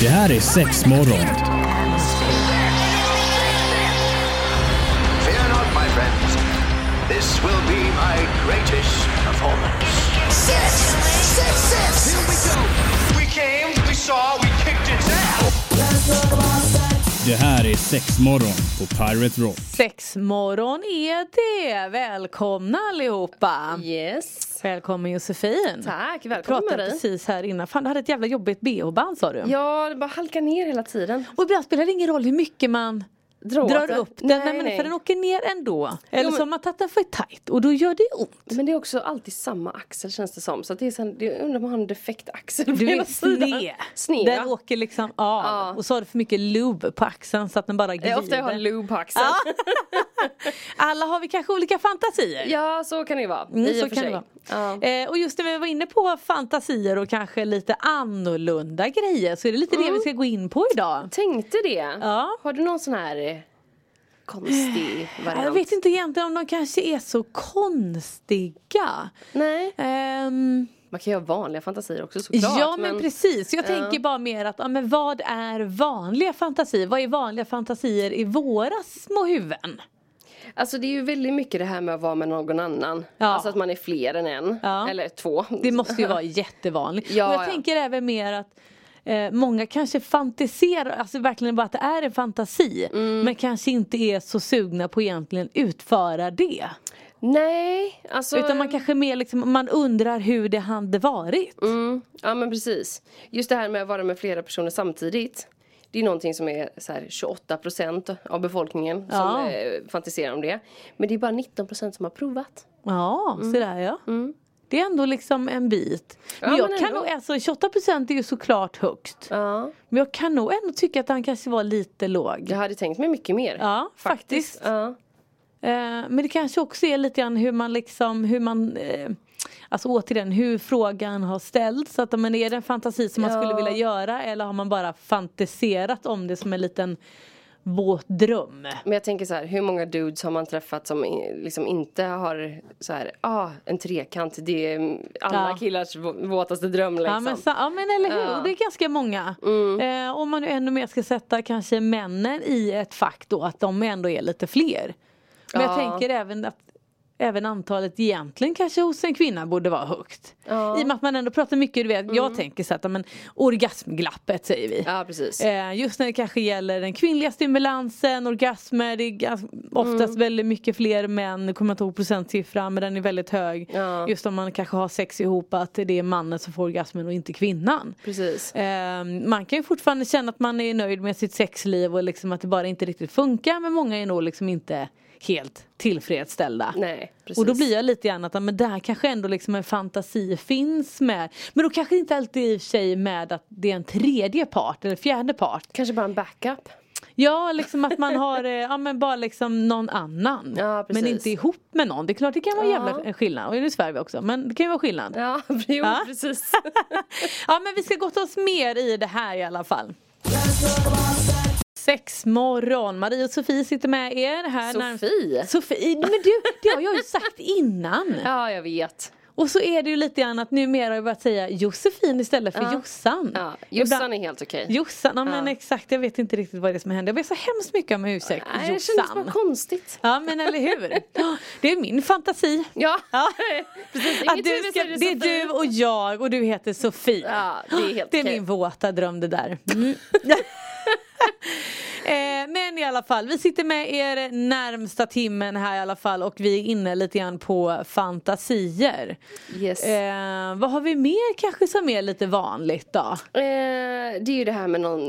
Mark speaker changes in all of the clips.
Speaker 1: Det här är sex morgon.
Speaker 2: Fear not, my friends. This will be my greatest performance.
Speaker 3: Six, six, six. Here we go.
Speaker 2: We came, we saw, we kicked its ass.
Speaker 1: Det här är sex morgon på Pirate Rock.
Speaker 4: Sexmorgon är det! Välkomna allihopa!
Speaker 5: Yes.
Speaker 4: Välkommen Josefin!
Speaker 5: Tack,
Speaker 4: Vi pratade
Speaker 5: välkommen dig.
Speaker 4: precis här innan. Fan, du hade ett jävla jobbigt bh-band sa du.
Speaker 5: Ja, det bara halkar ner hela tiden.
Speaker 4: Och ibland spelar det ingen roll hur mycket man
Speaker 5: Dra
Speaker 4: drar
Speaker 5: åt det.
Speaker 4: upp den.
Speaker 5: Nej,
Speaker 4: Nej, men,
Speaker 5: nej.
Speaker 4: För den åker ner ändå. Eller
Speaker 5: Jo, men-
Speaker 4: så har man tagit den för tajt och då gör det ont.
Speaker 5: Men det är också alltid samma axel känns det som. Så att det är sen, det, jag undrar om man har en defekt axel på
Speaker 4: Du är
Speaker 5: ena sidan.
Speaker 4: sned.
Speaker 5: Sned,
Speaker 4: Den
Speaker 5: ja.
Speaker 4: åker liksom av.
Speaker 5: Ja.
Speaker 4: Och så har du för mycket lube på axeln så att den bara
Speaker 5: Det
Speaker 4: glider.
Speaker 5: är ofta jag har en lube på axeln.
Speaker 4: Ja. Alla har vi kanske olika fantasier.
Speaker 5: ja, så kan det ju vara.
Speaker 4: Mm,
Speaker 5: I
Speaker 4: så
Speaker 5: och för
Speaker 4: kan
Speaker 5: sig.
Speaker 4: det vara.
Speaker 5: Ja.
Speaker 4: Eh, och just det vi var inne på, fantasier och kanske lite annorlunda grejer. Så är det lite
Speaker 5: Mm.
Speaker 4: det vi ska gå in på idag.
Speaker 5: Tänkte det.
Speaker 4: Ja. Eh,
Speaker 5: Har du någon sån här eh, konstig variant?
Speaker 4: Jag vet inte egentligen om de kanske är så konstiga.
Speaker 5: Nej.
Speaker 4: Ehm,
Speaker 5: Man kan ju ha vanliga fantasier också såklart.
Speaker 4: ja men, precis, jag
Speaker 5: Ja.
Speaker 4: tänker bara mer att ja, men vad är vanliga fantasier? Vad är vanliga fantasier i våra små huvuden?
Speaker 5: Alltså det är ju väldigt mycket det här med att vara med någon annan.
Speaker 4: Ja.
Speaker 5: Alltså att man är fler än en.
Speaker 4: Ja.
Speaker 5: Eller två.
Speaker 4: Det måste ju vara jättevanligt.
Speaker 5: Ja,
Speaker 4: och jag
Speaker 5: ja.
Speaker 4: tänker även mer att eh, många kanske fantiserar, alltså verkligen bara att det är en fantasi.
Speaker 5: Mm.
Speaker 4: Men kanske inte är så sugna på att egentligen utföra det.
Speaker 5: Nej, alltså.
Speaker 4: Utan man kanske mer liksom, man undrar hur det hade varit.
Speaker 5: Mm, ja men precis. Just det här med att vara med flera personer samtidigt. Det är någonting som är så här 28 procent av befolkningen
Speaker 4: Ja.
Speaker 5: som eh, fantiserar om det. Men det är bara 19 procent som har provat.
Speaker 4: Ja, så sådär ja. Det är ändå liksom en bit. Men
Speaker 5: Mm. Ja,
Speaker 4: jag
Speaker 5: men
Speaker 4: kan
Speaker 5: ändå.
Speaker 4: nog, alltså 28% är ju såklart högt.
Speaker 5: Ja.
Speaker 4: Men jag kan nog ändå tycka att han kanske var lite låg.
Speaker 5: Jag hade tänkt mig mycket mer.
Speaker 4: Ja, faktiskt.
Speaker 5: Ja.
Speaker 4: Eh, men det kanske också är lite grann hur man liksom, hur man eh, Alltså återigen hur frågan har ställts. Att, men är det en fantasi som man
Speaker 5: Ja.
Speaker 4: skulle vilja göra eller har man bara fantiserat om det som en liten våt dröm?
Speaker 5: Men jag tänker så här, hur många dudes har man träffat som i- liksom inte har så här, ah, en trekant, det är mm, alla
Speaker 4: Ja.
Speaker 5: killars vå- våtaste dröm liksom.
Speaker 4: Ja men, sa- ja men eller hur,
Speaker 5: Ja. Mm.
Speaker 4: det är ganska många. Eh, om man nu ännu mer ska sätta kanske männen i ett fack då att de ändå är lite fler. Men jag
Speaker 5: Ja.
Speaker 4: tänker även att Även antalet egentligen kanske hos en kvinna borde vara högt.
Speaker 5: Ja. Mm.
Speaker 4: I och med att man ändå pratar mycket, du vet, jag tänker så att ja, men, orgasmglappet säger vi.
Speaker 5: ja precis.
Speaker 4: Eh, just när det kanske gäller den kvinnliga stimulansen, orgasmer, det är gans- oftast
Speaker 5: Mm.
Speaker 4: väldigt mycket fler män, nu kommer jag inte ihåg procentsiffran men den är väldigt hög.
Speaker 5: Ja.
Speaker 4: Just om man kanske har sex ihop att det är mannen som får orgasmen och inte kvinnan.
Speaker 5: Precis.
Speaker 4: Eh, man kan ju fortfarande känna att man är nöjd med sitt sexliv och liksom att det bara inte riktigt funkar men många är nog liksom inte helt tillfredsställda.
Speaker 5: Nej, precis.
Speaker 4: Och då blir jag lite grann att ja, men där kanske ändå liksom en fantasi finns med. Men då kanske inte alltid i och för sig med att det är en tredje part eller fjärde part.
Speaker 5: Kanske bara en backup.
Speaker 4: Ja, liksom att man har eh, ja, men bara liksom någon annan.
Speaker 5: Ja, precis.
Speaker 4: men inte ihop med någon. Det är klart det kan vara
Speaker 5: Ja.
Speaker 4: jävla skillnad. Och nu svär vi också, men det kan ju vara skillnad.
Speaker 5: Ja, jo,
Speaker 4: Ja.
Speaker 5: precis.
Speaker 4: ja, men vi ska gotta oss mer i det här i alla fall. Sex morgon. Marie och Sofie sitter med er här. närmast-
Speaker 5: Sofie?
Speaker 4: Sofie, men du, det har jag ju sagt innan.
Speaker 5: Ja, jag vet.
Speaker 4: Och så är det ju lite grann att numera har jag börjat säga Josefin istället för
Speaker 5: Ja.
Speaker 4: Jossan.
Speaker 5: Ja, Jossan
Speaker 4: Ibland-
Speaker 5: är helt okej.
Speaker 4: Jossan, ja, men
Speaker 5: Ja.
Speaker 4: exakt jag vet inte riktigt vad det är som händer. Jag ber så hemskt mycket om ursäkt
Speaker 5: Nej, det kändes bara
Speaker 4: Jossan.
Speaker 5: konstigt.
Speaker 4: Ja men eller hur. Ja, Det är min fantasi.
Speaker 5: Ja,
Speaker 4: Ja.
Speaker 5: precis. Inget
Speaker 4: Att du
Speaker 5: huvud,
Speaker 4: ska,
Speaker 5: så
Speaker 4: det är
Speaker 5: Sofie.
Speaker 4: du och jag och du heter Sofie.
Speaker 5: Ja, det är helt
Speaker 4: Det är
Speaker 5: okej.
Speaker 4: min våta dröm det där. Mm. Eh, Men i alla fall, vi sitter med er närmsta timmen här i alla fall och vi är inne lite grann på fantasier.
Speaker 5: Yes. Eh,
Speaker 4: Eh, vad har vi mer kanske som är lite vanligt då?
Speaker 5: Eh, det är ju det här med någon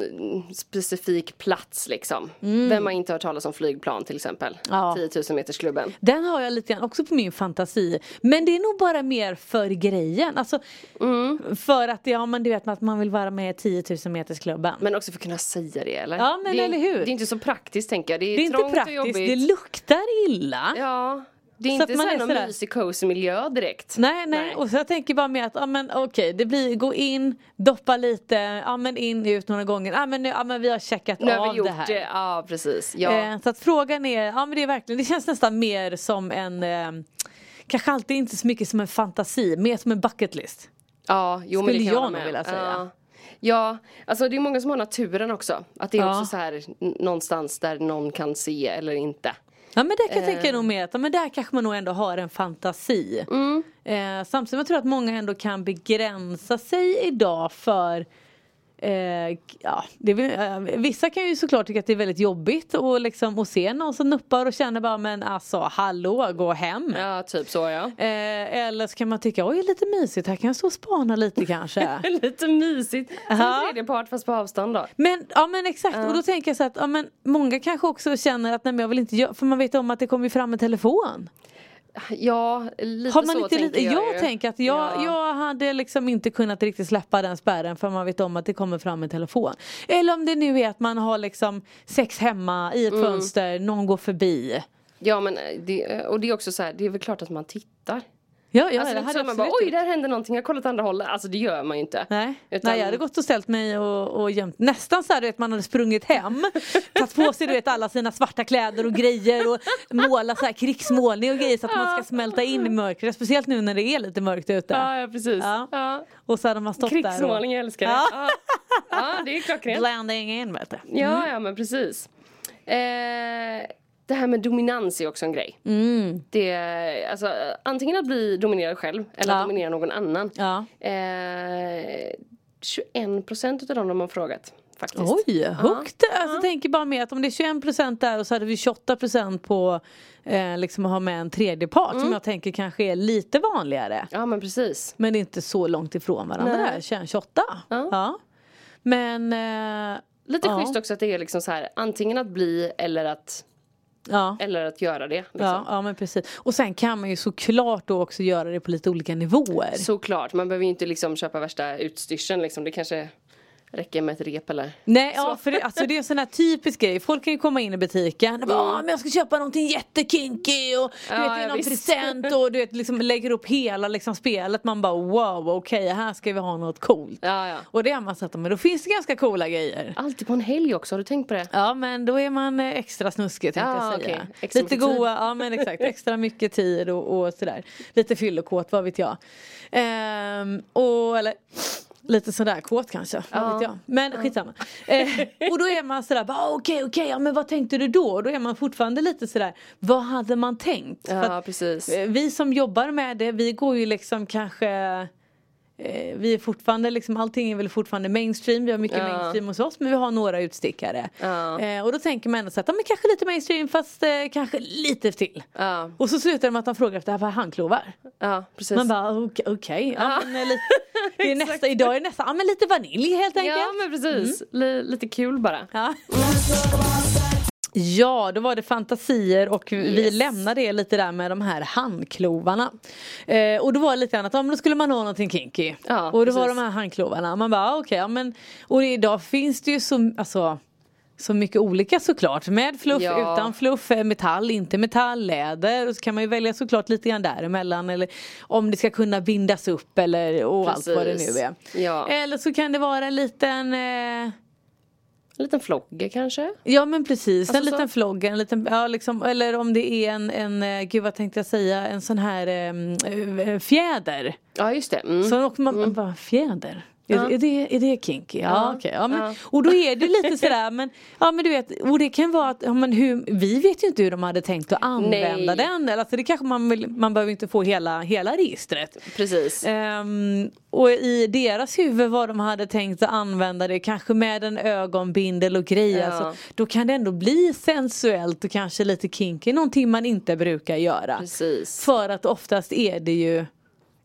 Speaker 5: specifik plats liksom. Vem har inte hört talas om flygplan till exempel?
Speaker 4: Mm. Ja.
Speaker 5: 10 000 metersklubben.
Speaker 4: Den har jag lite grann också på min fantasi. Men det är nog bara mer för grejen. Alltså,
Speaker 5: Mm.
Speaker 4: För att, ja, men du vet att man vill vara med i 10 000 metersklubben.
Speaker 5: Men också för att kunna säga det eller?
Speaker 4: Ja, men
Speaker 5: det är,
Speaker 4: eller hur?
Speaker 5: Det är inte så praktiskt tänker jag. Det är,
Speaker 4: det är inte
Speaker 5: trångt och
Speaker 4: praktiskt,
Speaker 5: jobbigt.
Speaker 4: det luktar illa.
Speaker 5: Ja. Det är
Speaker 4: Så
Speaker 5: inte
Speaker 4: att man
Speaker 5: så
Speaker 4: är
Speaker 5: här någon
Speaker 4: sådär-
Speaker 5: mysig cozy miljö direkt.
Speaker 4: Nej, nej, och så jag tänker bara med att, ja men okej, det blir gå in, doppa lite, ja men in, ut några gånger, ja men, nu, ja, men vi har checkat
Speaker 5: Nu
Speaker 4: av
Speaker 5: har vi gjort
Speaker 4: det här.
Speaker 5: det. Ja, precis. Ja.
Speaker 4: Eh, så att frågan är, ja men det är verkligen, det känns nästan mer som en eh, Kanske alltid inte så mycket som en fantasi, mer som en bucketlist.
Speaker 5: Ja, jo, men
Speaker 4: Skulle
Speaker 5: det
Speaker 4: jag
Speaker 5: kan vara
Speaker 4: nog
Speaker 5: med.
Speaker 4: vilja säga.
Speaker 5: Ja. Ja, alltså det är många som har naturen också. Att det är
Speaker 4: Ja.
Speaker 5: också så här n- någonstans där någon kan se eller inte.
Speaker 4: Ja men där kan jag
Speaker 5: Eh.
Speaker 4: tänka nog mer att ja, men där kanske man nog ändå har en fantasi.
Speaker 5: Mm.
Speaker 4: Eh, samtidigt som jag tror att många ändå kan begränsa sig idag för eh, ja, det är, väl- eh, vissa kan ju såklart tycka att det är väldigt jobbigt och liksom, att se någon som nuppar och känner bara men alltså hallå gå hem.
Speaker 5: Ja, typ så ja.
Speaker 4: Eh, eller så kan man tycka oj lite mysigt här kan jag stå och spana lite kanske.
Speaker 5: Lite mysigt. Som
Speaker 4: Ja.
Speaker 5: en tredje part fast på avstånd då.
Speaker 4: Men, ja men exakt och då tänker jag så att ja, men många kanske också känner att nej men jag vill inte göra, för man vet om att det kommer ju fram en telefon.
Speaker 5: Ja, lite
Speaker 4: Har man
Speaker 5: så
Speaker 4: inte lite,
Speaker 5: tänker
Speaker 4: jag,
Speaker 5: ju.
Speaker 4: tänker att jag,
Speaker 5: Ja.
Speaker 4: jag hade liksom inte kunnat riktigt släppa den spärren för man vet om att det kommer fram en telefon. Eller om det nu är att man har liksom sex hemma i ett
Speaker 5: Mm.
Speaker 4: fönster, någon går förbi.
Speaker 5: Ja men eh, det, och det är också så här, det är väl klart att man tittar.
Speaker 4: Ja, ja,
Speaker 5: alltså det
Speaker 4: det
Speaker 5: är inte
Speaker 4: hade
Speaker 5: så
Speaker 4: jag
Speaker 5: att man bara
Speaker 4: absolut
Speaker 5: oj
Speaker 4: gjort.
Speaker 5: där hände någonting, jag kollar åt andra hållet. Alltså det gör man ju inte.
Speaker 4: Nej.
Speaker 5: Utan-
Speaker 4: Nej, jag hade gått och ställt mig och, och gömt nästan så här du vet man hade sprungit hem tagit på sig du vet alla sina svarta kläder och grejer och målat så här krigsmålning och grejer så att man ska smälta in i mörkret speciellt nu när det är lite mörkt ute.
Speaker 5: Ja, ja precis.
Speaker 4: Ja.
Speaker 5: Ja.
Speaker 4: Och så hade man stått där och
Speaker 5: Krigsmålning, jag älskar det.
Speaker 4: Ja.
Speaker 5: Ja. Ja. det är klockrent.
Speaker 4: blanding in vet du.
Speaker 5: Ja, ja men precis. Eh, det här med dominans är också en grej.
Speaker 4: Mm.
Speaker 5: Det, är, alltså, antingen att bli dominerad själv eller
Speaker 4: Ja.
Speaker 5: att dominera någon annan.
Speaker 4: Ja.
Speaker 5: Eh, 21 procent utav dem de har frågat. Faktiskt.
Speaker 4: Oj, högt! Alltså, tänker bara med att om det är 21 procent där och så hade vi 28 procent på eh, liksom att ha med en tredje part
Speaker 5: Mm.
Speaker 4: som jag tänker kanske är lite vanligare.
Speaker 5: Ja men precis.
Speaker 4: Men det är inte så långt ifrån varandra
Speaker 5: Nej.
Speaker 4: där, 21, 28.
Speaker 5: Ja.
Speaker 4: Men eh,
Speaker 5: Lite
Speaker 4: ja.
Speaker 5: schysst också att det är liksom så här antingen att bli eller att,
Speaker 4: Ja.
Speaker 5: eller att göra det. Liksom.
Speaker 4: Ja, ja men precis. Och sen kan man ju såklart då också göra det på lite olika nivåer.
Speaker 5: Såklart, man behöver ju inte liksom köpa värsta utstyrseln liksom. Det kanske räcker med ett rep eller
Speaker 4: Nej, ja, för det, alltså, det är en sån här typisk grej. Folk kan ju komma in i butiken och bara, "Åh, men jag ska köpa någonting jättekinky och du
Speaker 5: Ja,
Speaker 4: vet, det är
Speaker 5: ja,
Speaker 4: någon
Speaker 5: visst.
Speaker 4: present och du vet, liksom, lägger upp hela liksom, spelet. Man bara wow, okej, här ska vi ha något coolt.
Speaker 5: Ja, ja.
Speaker 4: Och det har man sett, men då finns det ganska coola grejer.
Speaker 5: Alltid på en helg också, har du tänkt på det?
Speaker 4: Ja men då är man eh, extra snuskig tänkte
Speaker 5: Ja,
Speaker 4: jag säga.
Speaker 5: okej. Extra
Speaker 4: Lite
Speaker 5: mycket tid.
Speaker 4: goa, ja men exakt, extra mycket tid och, och sådär. Lite fyllekåt, vad vet jag. Ehm, och eller Lite sådär kåt kanske, vad vet jag. Men skitsamma. Eh, och då är man sådär, bara, "Ah, okej okej, ja, men vad tänkte du då? Och då är man fortfarande lite sådär, vad hade man tänkt? För
Speaker 5: Ja,
Speaker 4: att
Speaker 5: precis.
Speaker 4: Eh, Vi som jobbar med det, vi går ju liksom kanske eh, vi är fortfarande, liksom, allting är väl fortfarande mainstream, vi har mycket
Speaker 5: Ja.
Speaker 4: mainstream hos oss men vi har några utstickare.
Speaker 5: Ja.
Speaker 4: Eh, och då tänker man ändå så att, ja, men kanske lite mainstream fast eh, kanske lite till.
Speaker 5: Ja,
Speaker 4: Och så slutar det med att de frågar efter "Vad är handklovar.
Speaker 5: ja precis.
Speaker 4: Man bara okej, okej. ja,
Speaker 5: Ja.
Speaker 4: men, eh, lite- det är
Speaker 5: Exakt.
Speaker 4: nästa, idag är det nästa, ja men lite vanilj helt enkelt.
Speaker 5: ja, men precis.
Speaker 4: Mm.
Speaker 5: Li- lite kul bara.
Speaker 4: Ja. Ja, då var det fantasier och vi
Speaker 5: Yes.
Speaker 4: lämnade det lite där med de här handklovarna. Eh, och då var det lite annat, ja men då skulle man ha någonting kinky.
Speaker 5: Ja,
Speaker 4: och då var
Speaker 5: precis.
Speaker 4: de här handklovarna, man bara ah, okej, ja, men och idag finns det ju så, alltså, så mycket olika såklart. Med fluff,
Speaker 5: Ja.
Speaker 4: utan fluff, eh, metall, inte metall, läder. Och så kan man ju välja såklart lite grann däremellan. Eller om det ska kunna bindas upp eller och allt vad det
Speaker 5: Precis.
Speaker 4: nu är.
Speaker 5: Ja.
Speaker 4: Eller så kan det vara en liten eh,
Speaker 5: En liten flogge kanske?
Speaker 4: Ja men precis, en
Speaker 5: Alltså så-
Speaker 4: liten flogg, en liten, ja, liksom, eller om det är en, en, eh, gud vad tänkte jag säga, en sån här em, eh, fjäder.
Speaker 5: Ja, just det. Mm.
Speaker 4: Så och man bara, fjäder? Är, är, det, är det kinky? Ja,
Speaker 5: Ja,
Speaker 4: okej. Ja, men,
Speaker 5: ja.
Speaker 4: Och då är det lite sådär, men, ja, men du vet, och det kan vara att ja, men hur, vi vet ju inte hur de hade tänkt att använda
Speaker 5: Nej.
Speaker 4: den. Eller, Alltså, det kanske man, vill, man behöver inte få hela, hela registret.
Speaker 5: Precis.
Speaker 4: Ehm, och i deras huvud vad de hade tänkt att använda det kanske med en ögonbindel och grejer.
Speaker 5: Ja.
Speaker 4: Alltså, då kan det ändå bli sensuellt och kanske lite kinky. Någonting man inte brukar göra.
Speaker 5: Precis.
Speaker 4: För att oftast är det ju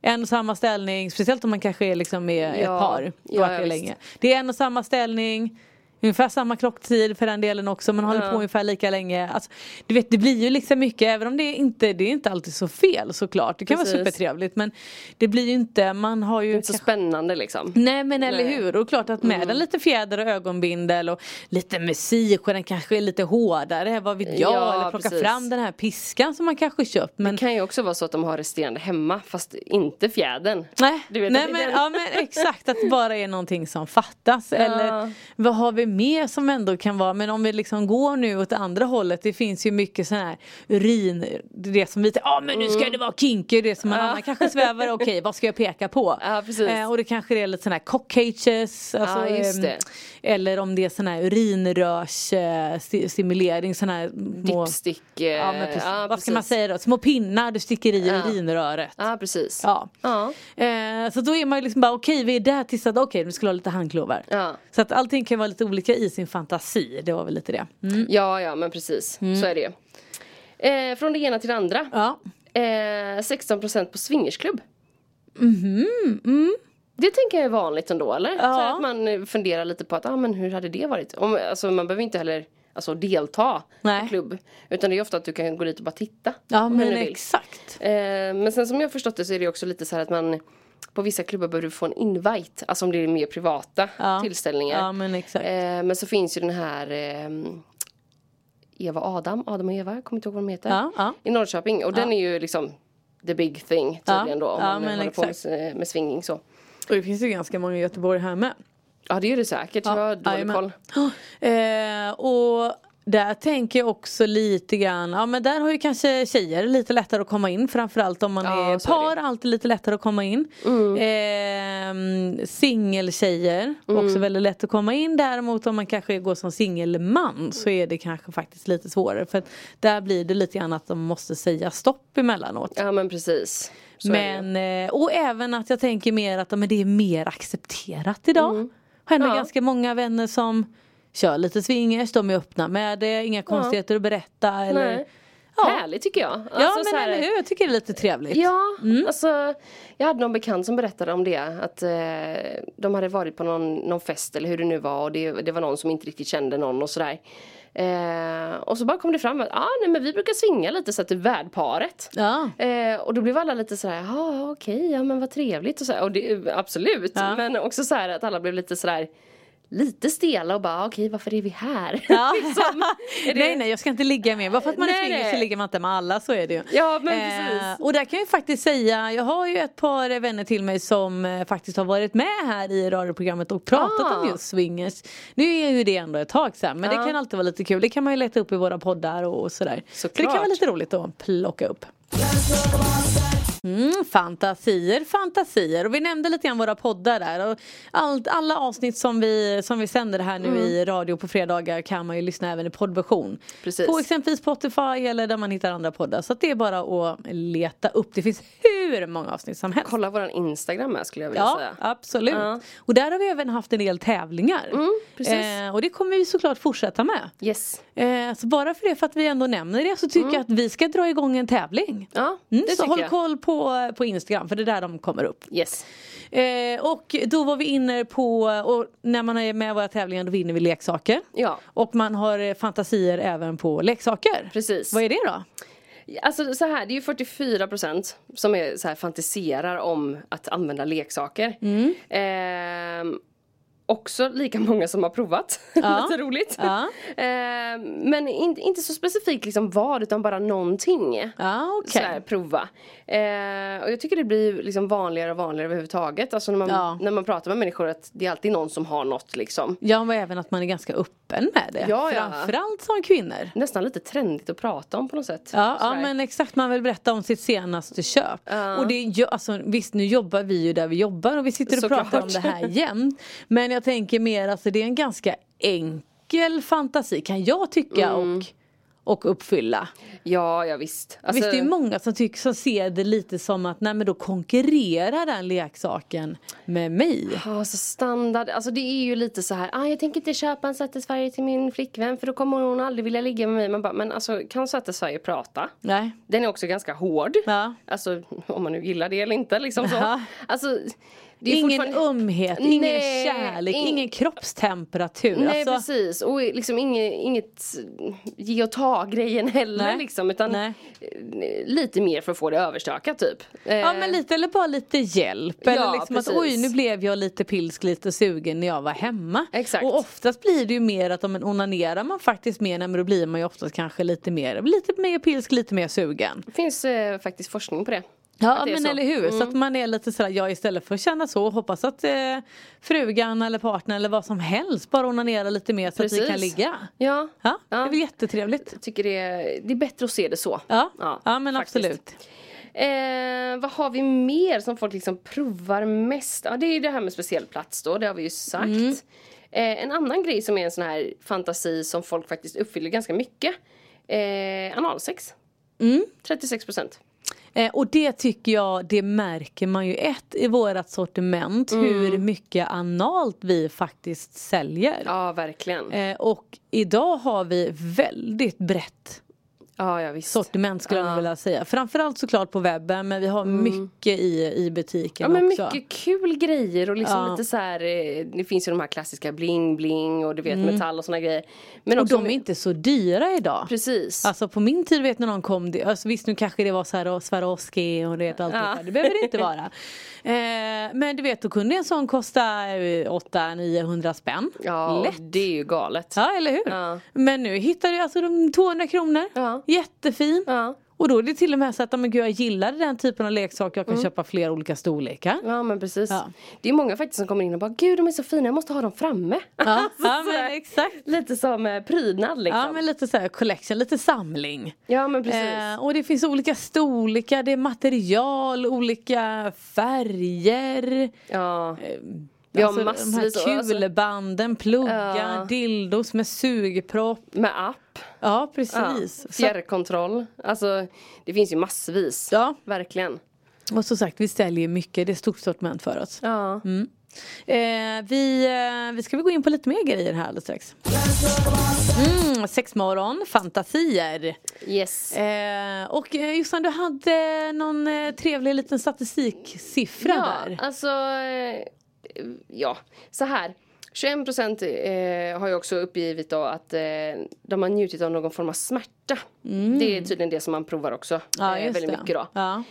Speaker 4: en och samma ställning. Speciellt om man kanske är liksom med
Speaker 5: Ja.
Speaker 4: ett par. och
Speaker 5: Ja,
Speaker 4: varit det
Speaker 5: ja,
Speaker 4: länge. Det är en och samma ställning. Ungefär samma klocktid för den delen också. Man håller på ungefär lika länge. Alltså, du vet, det blir ju liksom mycket. Även om det inte det är inte alltid så fel såklart. Det kan vara
Speaker 5: Precis.
Speaker 4: supertrevligt. Men det blir ju inte. Man har ju
Speaker 5: Inte så spännande liksom.
Speaker 4: Nej men eller
Speaker 5: Nej. Mm.
Speaker 4: hur, och klart att med en lite fjäder och ögonbindel och lite musik och den kanske är lite hårdare, vad vet jag,
Speaker 5: Ja,
Speaker 4: eller plocka
Speaker 5: precis.
Speaker 4: fram den här piskan som man kanske köpt men
Speaker 5: Det kan ju också vara så att de har resterande hemma fast inte fjädern.
Speaker 4: Nej,
Speaker 5: Du vet
Speaker 4: nej
Speaker 5: att det
Speaker 4: men,
Speaker 5: är den.
Speaker 4: ja, men exakt att det bara är någonting som fattas eller vad har vi mer som ändå kan vara, men om vi liksom går nu åt andra hållet, det finns ju mycket sån här urin, det som vi säger, ja ah, men nu ska det vara kinky, det som en
Speaker 5: Mm. Ja.
Speaker 4: annan kanske svävar, okej vad ska jag peka på? Eh,
Speaker 5: Ja, precis.
Speaker 4: och det kanske är lite sån här cockcages, alltså,
Speaker 5: Ja, just
Speaker 4: ehm,
Speaker 5: det.
Speaker 4: eller om det är sån här urinrörsstimulering, sån här små-
Speaker 5: Dipstick. eh,
Speaker 4: Ja, men precis.
Speaker 5: ja,
Speaker 4: Vad ska man
Speaker 5: precis.
Speaker 4: säga då? Små pinnar du sticker i
Speaker 5: Ja.
Speaker 4: urinröret.
Speaker 5: Ja, precis.
Speaker 4: Ja.
Speaker 5: Ja.
Speaker 4: Eh, så då är man ju liksom bara okej vi är där tills att okej vi skulle ha lite handklovar.
Speaker 5: Ja.
Speaker 4: Så att allting kan vara lite olika i sin fantasi. Det var väl lite det. Mm.
Speaker 5: Ja, ja, men precis. Så är det eh, Från det ena till det andra.
Speaker 4: Ja.
Speaker 5: Eh, 16% på swingersklubb.
Speaker 4: Mhm, mm.
Speaker 5: Det tänker jag är vanligt ändå, eller? Så här att man eh, funderar lite på att, ah, men hur hade det varit? Om, alltså, man behöver inte heller alltså, delta
Speaker 4: Nej.
Speaker 5: på klubb. Utan det är ofta att du kan gå dit och bara titta.
Speaker 4: Ja
Speaker 5: om du
Speaker 4: men
Speaker 5: nu vill.
Speaker 4: exakt.
Speaker 5: Eh, men sen som jag har förstått det så är det också lite så här att man på vissa klubbar behöver du få en invite, alltså om det är mer privata
Speaker 4: Ja.
Speaker 5: tillställningar.
Speaker 4: Ja men exakt.
Speaker 5: Eh, men så finns ju den här ehm, Eva och Adam, Adam och Eva, jag kommer inte ihåg vad de heter.
Speaker 4: Ja, ja.
Speaker 5: I Norrköping och den är ju liksom the big thing
Speaker 4: Ja,
Speaker 5: tydligen då om
Speaker 4: ja,
Speaker 5: man
Speaker 4: men
Speaker 5: håller
Speaker 4: exakt.
Speaker 5: på med, med swinging så.
Speaker 4: Och det finns ju ganska många i Göteborg här med.
Speaker 5: Ja det är det säkert, jag har dålig
Speaker 4: jajamän.
Speaker 5: koll.
Speaker 4: Eh, och där tänker jag också lite grann, ja men där har ju kanske tjejer lite lättare att komma in framförallt om man
Speaker 5: Ja,
Speaker 4: är
Speaker 5: så är
Speaker 4: par,
Speaker 5: det.
Speaker 4: alltid lite lättare att komma in.
Speaker 5: Mm.
Speaker 4: Eh, singeltjejer, också väldigt lätt att komma in. Däremot om man kanske går som singelman så är det kanske faktiskt lite svårare för att där blir det lite grann att de måste säga stopp emellanåt.
Speaker 5: Ja men precis. Så är det ju.
Speaker 4: Men, eh, och även att jag tänker mer att ja, men det är mer accepterat idag. Har ändå
Speaker 5: Mm. Ja.
Speaker 4: ganska många vänner som kör lite swingers, de är öppna med det, inga konstigheter att berätta. Eller,
Speaker 5: Nej.
Speaker 4: Ja.
Speaker 5: Härligt tycker jag.
Speaker 4: Ja
Speaker 5: Alltså, så
Speaker 4: men
Speaker 5: här-
Speaker 4: eller hur, jag tycker det är lite trevligt.
Speaker 5: Ja,
Speaker 4: Mm.
Speaker 5: alltså jag hade någon bekant som berättade om det att eh, de hade varit på någon, någon fest eller hur det nu var och det, det var någon som inte riktigt kände någon och sådär. Eh, och så bara kom det fram att ah, nej, men vi brukar svinga lite så att det är värdparet.
Speaker 4: Ja.
Speaker 5: Eh, och då blev alla lite sådär, ja okej, ja men vad trevligt och så här. Och det, absolut,
Speaker 4: Ja.
Speaker 5: men också så här att alla blev lite sådär lite stela och bara okej varför är vi här?
Speaker 4: Ja.
Speaker 5: liksom, är det-
Speaker 4: Nej nej jag ska inte ligga med, bara för att man är
Speaker 5: Nej,
Speaker 4: swingers
Speaker 5: nej.
Speaker 4: så ligger man inte med alla, så är det ju. Eh,
Speaker 5: Ja, men precis.
Speaker 4: och där kan jag ju faktiskt säga, jag har ju ett par eh, vänner till mig som eh, faktiskt har varit med här i radioprogrammet och pratat
Speaker 5: Ah.
Speaker 4: om just swingers. Nu är ju det ändå ett tag sedan men
Speaker 5: Ja.
Speaker 4: det kan alltid vara lite kul, det kan man ju leta upp i våra poddar och, och sådär. Så det
Speaker 5: Såklart.
Speaker 4: kan vara lite roligt att plocka upp. Mm, fantasier, fantasier. Och vi nämnde lite grann våra poddar där. Och allt, alla avsnitt som vi, som vi sänder här nu
Speaker 5: Mm.
Speaker 4: i radio på fredagar kan man ju lyssna även i poddversion.
Speaker 5: Precis.
Speaker 4: På exempelvis Spotify eller där man hittar andra poddar. Så att det är bara att leta upp. Det finns hur många avsnitt som helst.
Speaker 5: Kolla våran Instagram här skulle jag vilja
Speaker 4: Ja,
Speaker 5: säga.
Speaker 4: absolut.
Speaker 5: Ja. Mm,
Speaker 4: Och där har vi även haft en del tävlingar.
Speaker 5: precis.
Speaker 4: Eh, och det kommer vi såklart fortsätta med.
Speaker 5: Yes.
Speaker 4: Eh, så bara för det, för att vi ändå nämner det, så tycker jag att vi ska dra igång en tävling.
Speaker 5: Mm. Ja,
Speaker 4: Mm,
Speaker 5: det
Speaker 4: så
Speaker 5: tycker
Speaker 4: håll
Speaker 5: jag.
Speaker 4: koll på, på Instagram för det är där de kommer upp.
Speaker 5: Yes.
Speaker 4: Eh, och då var vi inne på, och när man är med i våra tävlingar då vinner vi leksaker.
Speaker 5: Ja.
Speaker 4: Och man har eh, fantasier även på leksaker.
Speaker 5: Precis.
Speaker 4: Vad är det då?
Speaker 5: Alltså så här, det är ju 44 procent som är så här, fantiserar om att använda leksaker.
Speaker 4: Mm.
Speaker 5: Ehm, också lika många som har provat.
Speaker 4: Ja.
Speaker 5: Lite roligt.
Speaker 4: Ja.
Speaker 5: Ehm, men in, inte så specifikt liksom vad utan bara någonting.
Speaker 4: Ja
Speaker 5: Så
Speaker 4: Ah, okej.
Speaker 5: här, prova. Ehm, och jag tycker det blir liksom vanligare och vanligare överhuvudtaget. Alltså när man,
Speaker 4: Ja.
Speaker 5: när man pratar med människor att det är alltid någon som har något liksom.
Speaker 4: Ja men även att man är ganska öppen med det.
Speaker 5: Ja, ja.
Speaker 4: Framförallt som kvinnor.
Speaker 5: Nästan lite trendigt att prata om på något sätt.
Speaker 4: Ja,
Speaker 5: Så
Speaker 4: ja
Speaker 5: här.
Speaker 4: men exakt, man vill berätta om sitt senaste köp. Och det, är ju- alltså, visst nu jobbar vi ju där vi jobbar och vi sitter och
Speaker 5: Såklart.
Speaker 4: pratar om det här jämt. Men jag tänker mer alltså det är en ganska enkel fantasi kan jag tycka
Speaker 5: Mm.
Speaker 4: och, och uppfylla.
Speaker 5: Ja, ja visst. Alltså-
Speaker 4: visst det är många som, tycker, som ser det lite som att nej men då konkurrerar den leksaken med mig.
Speaker 5: Ja, så standard. Alltså det är ju lite så här, ah, jag tänker inte köpa en Satisfyer till min flickvän för då kommer hon aldrig vilja ligga med mig. Man bara, men alltså kan Satisfyer prata?
Speaker 4: Nej.
Speaker 5: Den är också ganska hård.
Speaker 4: Ja.
Speaker 5: Alltså om man nu gillar det eller inte liksom så.
Speaker 4: Ja.
Speaker 5: Alltså, det är
Speaker 4: ingen
Speaker 5: fortfarande-
Speaker 4: ömhet, ingen
Speaker 5: Nej,
Speaker 4: kärlek,
Speaker 5: in-
Speaker 4: ingen kroppstemperatur.
Speaker 5: Nej
Speaker 4: alltså,
Speaker 5: precis och liksom inget, inget ge och ta grejen heller
Speaker 4: Nej.
Speaker 5: liksom utan
Speaker 4: Nej.
Speaker 5: eh, lite mer för att få det överstökat typ.
Speaker 4: Ja men lite, eller bara lite hjälp. eller liksom att
Speaker 5: precis.
Speaker 4: oj nu blev jag lite pilsk, lite sugen när jag var hemma.
Speaker 5: Exakt.
Speaker 4: Och oftast blir det ju mer att om man onanerar man faktiskt mer, nej, men då blir man ju oftast kanske lite mer, lite mer pilsk, lite mer sugen.
Speaker 5: Det finns eh, faktiskt forskning på det.
Speaker 4: Ja
Speaker 5: att det är
Speaker 4: men
Speaker 5: så.
Speaker 4: eller hur, så Mm. att man är lite sådär, ja istället för att känna så och hoppas att eh, frugan eller partnern eller vad som helst bara onanerar lite mer så att vi kan
Speaker 5: Precis.
Speaker 4: ligga.
Speaker 5: Ja.
Speaker 4: Ja, det
Speaker 5: Ja.
Speaker 4: är väl jättetrevligt.
Speaker 5: Jag tycker det är, det är bättre att se det så.
Speaker 4: Ja, ja, men
Speaker 5: faktiskt.
Speaker 4: absolut.
Speaker 5: Eh, vad har vi mer som folk liksom provar mest? Ja, det är ju det här med speciell plats då, det har vi ju sagt. Eh, en annan grej som är en sån här fantasi som folk faktiskt uppfyller ganska mycket. Eh, analsex. Mm. 36 procent.
Speaker 4: Eh, och det tycker jag, det märker man ju ett i vårat sortiment
Speaker 5: Mm.
Speaker 4: hur mycket analt vi faktiskt säljer.
Speaker 5: Ja, verkligen.
Speaker 4: Eh, och idag har vi väldigt brett
Speaker 5: Ja, ja visst.
Speaker 4: sortiment skulle jag nog vilja säga. Framförallt såklart på webben men vi har mycket i, i butiken
Speaker 5: Ja men
Speaker 4: också.
Speaker 5: mycket kul grejer och liksom
Speaker 4: Ja.
Speaker 5: lite så här, eh, det finns ju de här klassiska bling bling och du vet metall Mm. och såna grejer. Men
Speaker 4: Och
Speaker 5: också
Speaker 4: de är inte så dyra idag.
Speaker 5: Precis.
Speaker 4: Alltså på min tid vet när någon kom, det, alltså visst nu kanske det var så här och Swarovski och du vet allt det
Speaker 5: Ja.
Speaker 4: där. det behöver det inte vara. Eh, men du vet då kunde en sån kosta 800-900 spänn.
Speaker 5: ja, och
Speaker 4: Lätt.
Speaker 5: det är ju galet.
Speaker 4: Ja eller hur.
Speaker 5: Ja.
Speaker 4: Men nu hittar du alltså de 200 kronor,
Speaker 5: Ja.
Speaker 4: jättefin.
Speaker 5: Ja.
Speaker 4: Och då är det till och med så att men gud, jag gillar den typen av leksaker, jag kan
Speaker 5: Mm.
Speaker 4: köpa flera olika storlekar.
Speaker 5: Ja men precis.
Speaker 4: Ja.
Speaker 5: Det är många faktiskt som kommer in och bara gud de är så fina, jag måste ha dem framme.
Speaker 4: Ja, ja
Speaker 5: Sådär.
Speaker 4: men exakt.
Speaker 5: Lite som eh, prydnad liksom.
Speaker 4: Ja men lite så här collection, lite samling.
Speaker 5: precis.
Speaker 4: Eh, och det finns olika storlekar, det är material, olika färger.
Speaker 5: ja. Vi har massvis
Speaker 4: de
Speaker 5: och-
Speaker 4: här
Speaker 5: alltså-
Speaker 4: kulbanden, pluggar,
Speaker 5: Ja.
Speaker 4: dildos med sugpropp.
Speaker 5: Med app,
Speaker 4: Ja
Speaker 5: ja.
Speaker 4: precis. Så,
Speaker 5: fjärrkontroll. Alltså det finns ju massvis.
Speaker 4: Ja.
Speaker 5: Verkligen.
Speaker 4: och som sagt vi säljer mycket, det är ett stort sortiment för oss.
Speaker 5: Ja.
Speaker 4: Eh, vi, eh, vi ska väl gå in på lite mer grejer här alldeles strax. Mm, sexmorgon, fantasier.
Speaker 5: Yes.
Speaker 4: Eh, och eh, Jossan, du hade någon eh, trevlig liten statistiksiffra
Speaker 5: ja,
Speaker 4: där.
Speaker 5: Alltså, eh, ja, så här. 21 procent eh, har ju också uppgivit då att eh, de har njutit av någon form av smärta. Det är tydligen det som man provar också.
Speaker 4: Mm. Ja,
Speaker 5: eh,
Speaker 4: just
Speaker 5: väldigt
Speaker 4: det.
Speaker 5: mycket då.
Speaker 4: Ja.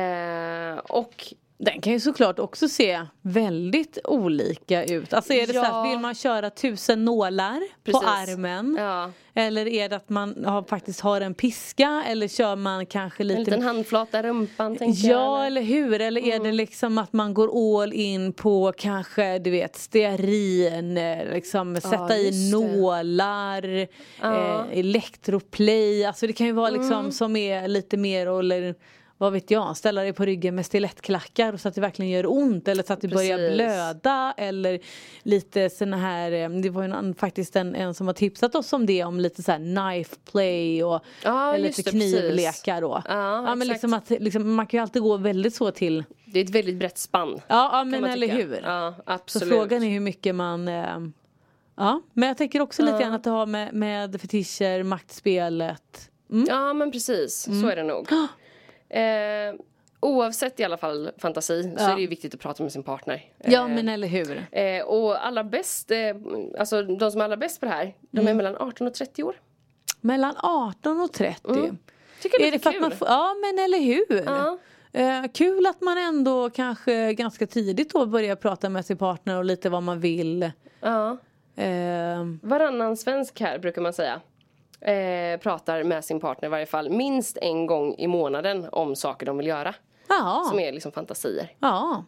Speaker 5: Eh, och
Speaker 4: Den kan ju såklart också se väldigt olika ut. Alltså är det så
Speaker 5: Ja.
Speaker 4: här, vill man köra tusen nålar
Speaker 5: Precis.
Speaker 4: på armen?
Speaker 5: ja,
Speaker 4: Eller är det att man har, faktiskt har en piska eller kör man kanske
Speaker 5: en
Speaker 4: lite
Speaker 5: liten handflata i rumpan tänker
Speaker 4: Ja
Speaker 5: jag. Mm.
Speaker 4: eller hur, eller är det liksom att man går all in på kanske du vet stearin, eh, liksom sätta i
Speaker 5: just det.
Speaker 4: nålar,
Speaker 5: Ja. Mm.
Speaker 4: eh, elektroplay, alltså det kan ju vara liksom som är lite mer eller vad vet jag, ställa dig på ryggen med stilettklackar så att det verkligen gör ont eller så att det börjar
Speaker 5: Precis.
Speaker 4: blöda eller lite såna här, eh, det var ju någon, faktiskt en, en som har tipsat oss om det om lite så här knife play och
Speaker 5: Ja,
Speaker 4: eller
Speaker 5: just
Speaker 4: lite
Speaker 5: det, precis.
Speaker 4: knivlekar då.
Speaker 5: Ja,
Speaker 4: ja men
Speaker 5: exakt.
Speaker 4: liksom att, liksom, man kan ju alltid gå väldigt så till.
Speaker 5: Det är ett väldigt brett spann.
Speaker 4: Ja, ja
Speaker 5: kan
Speaker 4: men
Speaker 5: man
Speaker 4: eller
Speaker 5: tycka.
Speaker 4: hur.
Speaker 5: Ja,
Speaker 4: så
Speaker 5: absolut.
Speaker 4: frågan är hur mycket man... Eh, ja, men jag tänker också lite grann att det har med, med fetischer, maktspelet.
Speaker 5: Ja men precis,
Speaker 4: Mm.
Speaker 5: så är det nog. Eh, oavsett i alla fall fantasi så
Speaker 4: Ja.
Speaker 5: är det ju viktigt att prata med sin partner.
Speaker 4: Ja men eller hur.
Speaker 5: Eh, och allra bäst, eh, alltså de som är allra bäst på det här, de
Speaker 4: Mm.
Speaker 5: är mellan 18 och 30 år.
Speaker 4: Mellan 18 och 30.
Speaker 5: Tycker det
Speaker 4: är det för att man
Speaker 5: Mm. kul?
Speaker 4: får, ja men eller hur.
Speaker 5: Ja.
Speaker 4: Eh, kul att man ändå kanske ganska tidigt då börjar prata med sin partner och lite vad man vill.
Speaker 5: Ja.
Speaker 4: Eh,
Speaker 5: Varannan svensk här brukar man säga. Eh, pratar med sin partner i varje fall minst en gång i månaden om saker de vill göra. Som
Speaker 4: ja.
Speaker 5: är liksom fantasier.
Speaker 4: ja.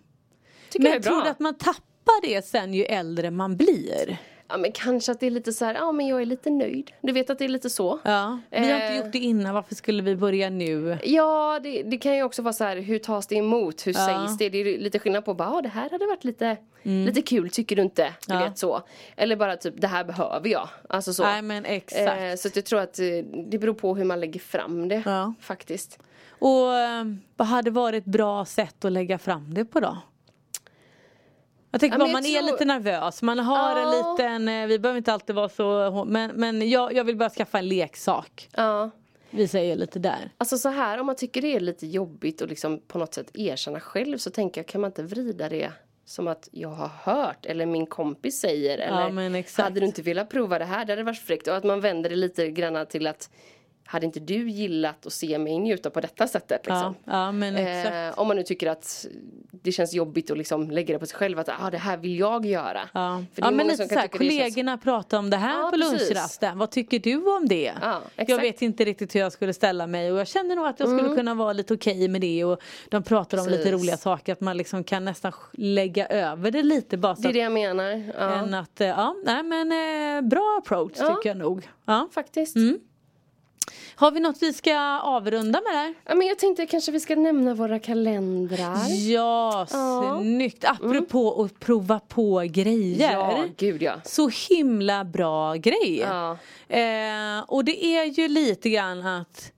Speaker 5: Tycker
Speaker 4: Men
Speaker 5: jag är
Speaker 4: jag
Speaker 5: bra.
Speaker 4: tror att man tappar det sen ju äldre man blir.
Speaker 5: Ja men kanske att det är lite så här, ja men jag är lite nöjd. Du vet att det är lite så.
Speaker 4: Ja. Vi har inte
Speaker 5: Eh.
Speaker 4: gjort det innan, varför skulle vi börja nu?
Speaker 5: Ja, det, det kan ju också vara så här, hur tas det emot? Hur sägs det? Det är ju lite skillnad på bara, "Ah, det här hade varit lite, lite kul, tycker du inte? Du
Speaker 4: Mm. Ja.
Speaker 5: vet så. Eller bara typ, det här behöver jag. Alltså så.
Speaker 4: Nej men exakt.
Speaker 5: Eh, så att jag tror att eh, det beror på hur man lägger fram det
Speaker 4: Ja.
Speaker 5: faktiskt.
Speaker 4: Och eh, vad hade varit ett bra sätt att lägga fram det på då? Jag tänker
Speaker 5: Ja,
Speaker 4: bara,
Speaker 5: men
Speaker 4: man
Speaker 5: jag
Speaker 4: är
Speaker 5: tror-
Speaker 4: lite nervös, man har en
Speaker 5: Ja.
Speaker 4: liten, eh, vi behöver inte alltid vara så hå- men, men jag, jag vill bara skaffa en leksak.
Speaker 5: Ja.
Speaker 4: Vi säger lite där.
Speaker 5: Alltså så här, om man tycker det är lite jobbigt och liksom på något sätt erkänna själv så tänker jag, kan man inte vrida det som att jag har hört eller min kompis säger eller
Speaker 4: men exakt.
Speaker 5: hade du inte velat prova det här, det hade varit fräckt och att man vänder det lite grann till att hade inte du gillat att se mig njuta på detta sättet? Liksom?
Speaker 4: Ja, ja, men exakt.
Speaker 5: Eh, om man nu tycker att det känns jobbigt att liksom lägga det på sig själv att ah, det här vill jag göra.
Speaker 4: Ja,
Speaker 5: För det
Speaker 4: ja
Speaker 5: är
Speaker 4: men
Speaker 5: många
Speaker 4: lite
Speaker 5: som kan
Speaker 4: såhär,
Speaker 5: tycka det känns-
Speaker 4: kollegorna pratar om det här
Speaker 5: Ja,
Speaker 4: på
Speaker 5: precis.
Speaker 4: lunchrasten. Vad tycker du om det?
Speaker 5: Ja,
Speaker 4: jag
Speaker 5: exakt. Mm.
Speaker 4: vet inte riktigt hur jag skulle ställa mig och jag känner nog att jag skulle kunna vara lite okej med det och de pratar om lite
Speaker 5: Precis.
Speaker 4: roliga saker att man liksom kan nästan sk- lägga över det lite bara så
Speaker 5: Det är
Speaker 4: att,
Speaker 5: det jag menar. Ja.
Speaker 4: än att eh, ja, nej men eh, bra approach
Speaker 5: Ja.
Speaker 4: tycker jag nog. Ja.
Speaker 5: Faktiskt.
Speaker 4: Har vi något vi ska avrunda med där?
Speaker 5: Ja, men jag tänkte kanske vi ska nämna våra kalendrar.
Speaker 4: Ja,
Speaker 5: Ja. Mm.
Speaker 4: snyggt! Apropå att prova på grejer.
Speaker 5: Ja, gud ja.
Speaker 4: Så himla bra grej.
Speaker 5: Ja.
Speaker 4: Eh, och det är ju lite grann att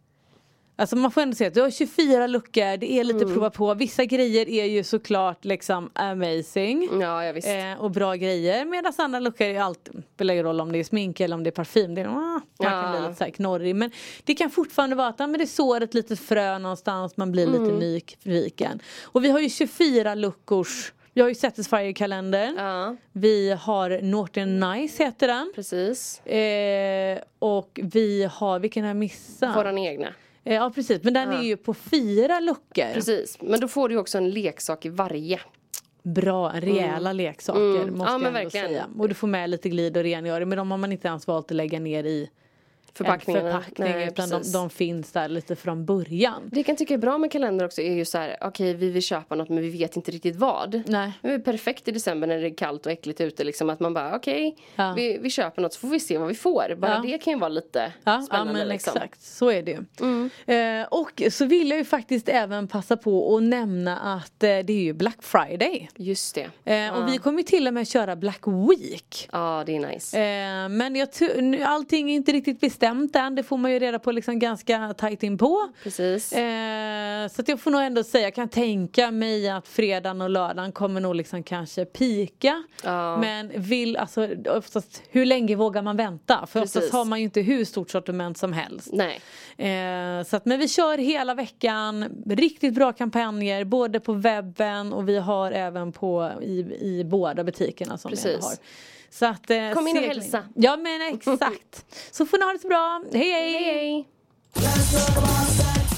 Speaker 4: Alltså man får ändå se att du har 24 luckor, det är lite
Speaker 5: Mm.
Speaker 4: prova på. Vissa grejer är ju såklart liksom amazing.
Speaker 5: Ja, ja Mm. visst.
Speaker 4: Eh, och bra grejer medan andra luckor är alltid, spelar ju roll om det är smink eller om det är parfym. Det är, ah, man kan
Speaker 5: Ja.
Speaker 4: bli lite så här knorrig men det kan fortfarande vara att ah, men det sår ett litet frö någonstans, man blir
Speaker 5: Mm.
Speaker 4: lite nyfiken. Och vi har ju 24 luckors, vi har ju Satisfyer-kalendern,
Speaker 5: Ja,
Speaker 4: vi har Norton Nice heter den.
Speaker 5: precis.
Speaker 4: Eh, och vi har, vilken har jag missat?
Speaker 5: Våran egna.
Speaker 4: Eh, ja precis, men den är ju på fyra luckor.
Speaker 5: Precis. Men då får du ju också en leksak i varje.
Speaker 4: Bra, rejäla leksaker
Speaker 5: Mm.
Speaker 4: måste
Speaker 5: Ja, men
Speaker 4: jag ändå
Speaker 5: verkligen.
Speaker 4: säga. Och du får med lite glid och rengöring men de har man inte ens valt att lägga ner i
Speaker 5: Förpackningarna.
Speaker 4: en förpackning
Speaker 5: Nej,
Speaker 4: utan de,
Speaker 5: precis.
Speaker 4: de finns där lite från början.
Speaker 5: Det jag kan tycka är bra med kalender också är ju så här, okej vi vill köpa något men vi vet inte riktigt vad.
Speaker 4: Nej.
Speaker 5: Det är perfekt i december när det är kallt och äckligt ute liksom att man bara okej
Speaker 4: Ja.
Speaker 5: vi, vi köper något så får vi se vad vi får. Bara
Speaker 4: Ja.
Speaker 5: det kan ju vara lite
Speaker 4: Ja, ja
Speaker 5: spännande
Speaker 4: men
Speaker 5: liksom. Mm.
Speaker 4: exakt, så är det ju. Eh, och så vill jag ju faktiskt även passa på att nämna att eh, det är ju Black Friday.
Speaker 5: Just det.
Speaker 4: Eh, Och vi kommer ju till och med köra Black Week.
Speaker 5: Ja det är nice.
Speaker 4: Eh, men jag tu- nu, allting är inte riktigt bestämt än. Det får man ju reda på liksom ganska tajt inpå.
Speaker 5: Precis.
Speaker 4: Eh, så att jag får nog ändå säga, jag kan tänka mig att fredagen och lördagen kommer nog liksom kanske pika.
Speaker 5: Ja.
Speaker 4: Men vill, alltså oftast, hur länge vågar man vänta? För
Speaker 5: Precis.
Speaker 4: oftast har man ju inte hur stort sortiment som helst.
Speaker 5: Nej.
Speaker 4: Eh, så att, men vi kör hela veckan, riktigt bra kampanjer både på webben och vi har även på i, i båda butikerna som vi
Speaker 5: Precis.
Speaker 4: ändå har. Så att, eh,
Speaker 5: Kom in och
Speaker 4: segling-
Speaker 5: hälsa.
Speaker 4: Ja men exakt. så får ni ha det så bra, hej hej!
Speaker 5: Hej.
Speaker 3: Dance floor, bossa,